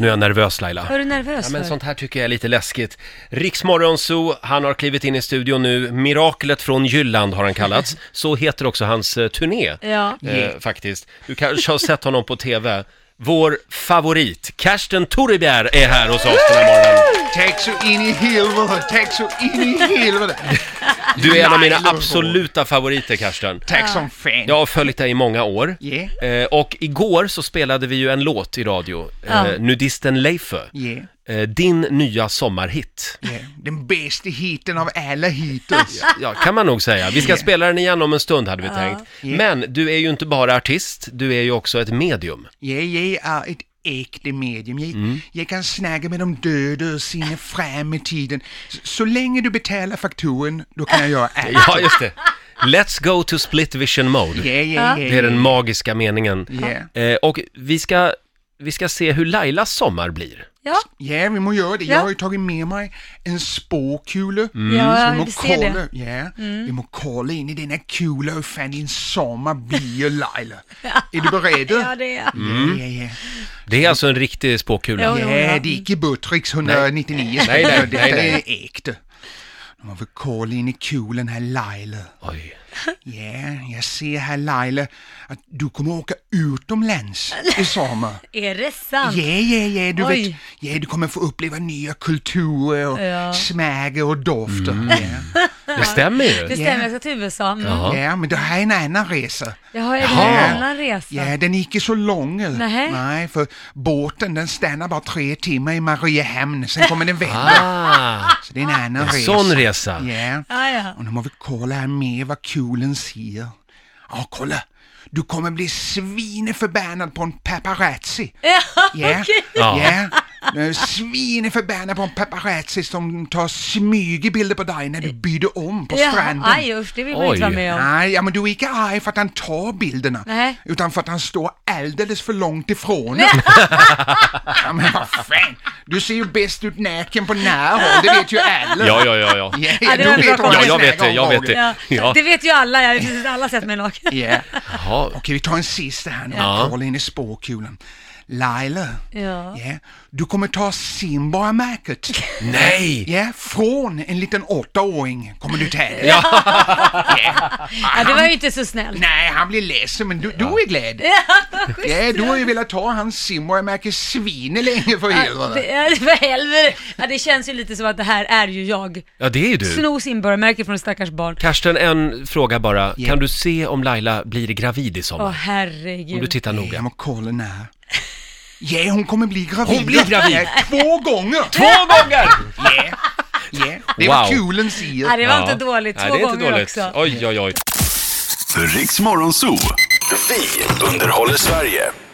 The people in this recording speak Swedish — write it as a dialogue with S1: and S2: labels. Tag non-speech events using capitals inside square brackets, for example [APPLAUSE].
S1: Nu är jag nervös Laila.
S2: Är du nervös
S1: Ja, men
S2: för?
S1: sånt här tycker jag är lite läskigt. Riksmorgonzoo, han har klivit in i studion nu. Miraklet från Jylland har han kallats. Så heter också hans eh, turné,
S2: Ja.
S1: eh, faktiskt. Du kanske har sett honom på TV. Vår favorit, Karsten Toribjer, är här hos oss den här morgonen.
S3: Tack så in i helvete, tack så
S1: [LAUGHS]
S3: in i helvete.
S1: Du är en av mina absoluta favoriter, Karsten.
S3: Tack som fan.
S1: Jag har följt dig i många år.
S3: Yeah.
S1: Eh, och igår så spelade vi ju en låt i radio,
S2: Ja.
S1: eh, Nudisten Leifö.
S3: Yeah.
S1: Eh, din nya sommarhit.
S3: yeah. Den bästa hiten av alla hittills.
S1: [LAUGHS] Ja, kan man nog säga. Vi ska spela den igen om en stund hade vi tänkt. Men du är ju inte bara artist, du är ju också ett
S2: [LAUGHS]
S1: medium.
S3: Jag, jag är ett äkta medium. Jag,
S1: Mm.
S3: jag kan snacka med de döda och sinne fram i tiden. Så, så länge du betalar fakturen, då kan jag göra allt.
S1: Ja, just det. Let's go to split vision mode.
S3: Yeah, yeah, yeah.
S1: Det är den magiska meningen.
S3: Yeah.
S1: Eh, och vi ska, vi ska se hur Lailas sommar blir.
S2: Ja.
S3: Ja, vi må göra det.
S2: Ja.
S3: Jag har ju tagit med mig en spåkula.
S1: Mm.
S2: Ja,
S3: vi
S2: jag
S3: må
S2: vill se
S3: kolla,
S2: det. Mm.
S3: Ja, vi må kolla in i denna kula hur fan din
S2: [LAUGHS]
S3: sommar blir, Laila. Är du beredd? Mm.
S2: Ja, det är jag.
S1: Mm.
S3: Ja, ja, ja.
S1: Det är alltså en riktig spåkula.
S2: Jo, jo,
S3: Ja,
S2: ja.
S3: det är inte Buttricks 199
S1: Nej, nej,
S3: spänn,
S1: nej,
S3: detta
S1: nej.
S3: är ägt. Nu har vi koll in i kulen här Laila.
S1: Oj.
S3: Ja, jag ser här Laila att du kommer åka
S2: [LAUGHS]
S3: utomlands i sommar.
S2: Är det sant?
S3: Ja, ja, ja, du vet,
S2: Oj.
S3: ja, du kommer få uppleva nya kulturer och
S2: Ja.
S3: smaker och dofter.
S1: Mm.
S3: Ja.
S1: Det stämmer
S2: Det
S1: ju.
S2: stämmer, jag ska till USA. Mm.
S1: Ja.
S3: ja, men det här är en annan resa.
S2: Jaha, är det
S1: Jaha.
S2: en annan resa?
S3: Ja, den är inte så lång.
S2: Nähä.
S3: Nej, för båten den stannar bara tre timmar i Mariehamn, sen kommer den vända.
S2: [LAUGHS]
S1: Ah,
S3: Så det är en annan
S1: en
S3: resa.
S1: sån resa.
S3: Ja.
S2: Ja, ja.
S3: Och nu måste vi kolla här med vad kulen säger. Ja, kolla! Du kommer bli svineförbannad på en paparazzi.
S2: [LAUGHS] Ja,
S3: Ja,
S1: Ja.
S3: ja. Du är Svineförbannad på en paparazzi som tar smygbilder på dig när du byter om på
S2: ja.
S3: stranden.
S2: Aj usch, det vill man
S1: Oj.
S2: inte vara med om.
S3: Nej, ja, men du är inte arg för att han tar bilderna,
S2: Nej.
S3: utan för att han står alldeles för långt ifrån. ja, men vad fan! Du ser ju bäst ut naken på nära håll, det vet ju alla.
S1: Ja, ja, ja, ja.
S3: Ja, ja,
S2: Ja, det
S3: du
S2: var
S3: vet
S2: bra
S3: vad
S1: Ja,
S3: vi
S1: jag vet
S3: snackar
S1: det,
S3: om,
S1: jag vet
S3: Roger.
S1: det.
S2: [LAUGHS] Ja.
S1: Ja.
S2: Det vet ju alla, jag har precis alla sett mig naken.
S3: Ja.
S1: Jaha.
S3: Okej, vi tar en sista här nu.
S1: Ja.
S3: Kolla in i spåkulan. Laila,
S2: Ja.
S3: ja, du kommer ta simborgarmärket.
S1: Nej!
S3: Ja, från en liten åttaåring kommer du ta det.
S2: ja, det var ju inte så snällt.
S3: Nej, han blir ledsen, men du, du är glad. Ja, du har ju velat ta hans simborgarmärke svinelänge för helvete.
S2: Det- ja, För helvete! Ja, det känns ju lite som att det här är ju jag.
S1: Ja, det är ju du.
S2: Snos inbörmärke från stackars barn.
S1: Karsten, en fråga bara. Kan du se om Laila blir gravid i
S2: Åh
S1: sommar? Om du
S2: herregud.
S1: tittar noga.
S3: Jag måste kolla när. Ja, hon kommer bli gravid.
S1: Hon blir gravid.
S3: Ja, två gånger!
S1: Två gånger!
S3: Ja, ja. Det var
S1: Wow.
S3: kulen säger.
S2: Ja, det var inte dåligt, två
S1: Nej, det är inte
S2: gånger
S1: dåligt.
S2: också.
S1: Oj, oj, oj.
S4: Riks Morgonzoo. Vi underhåller Sverige.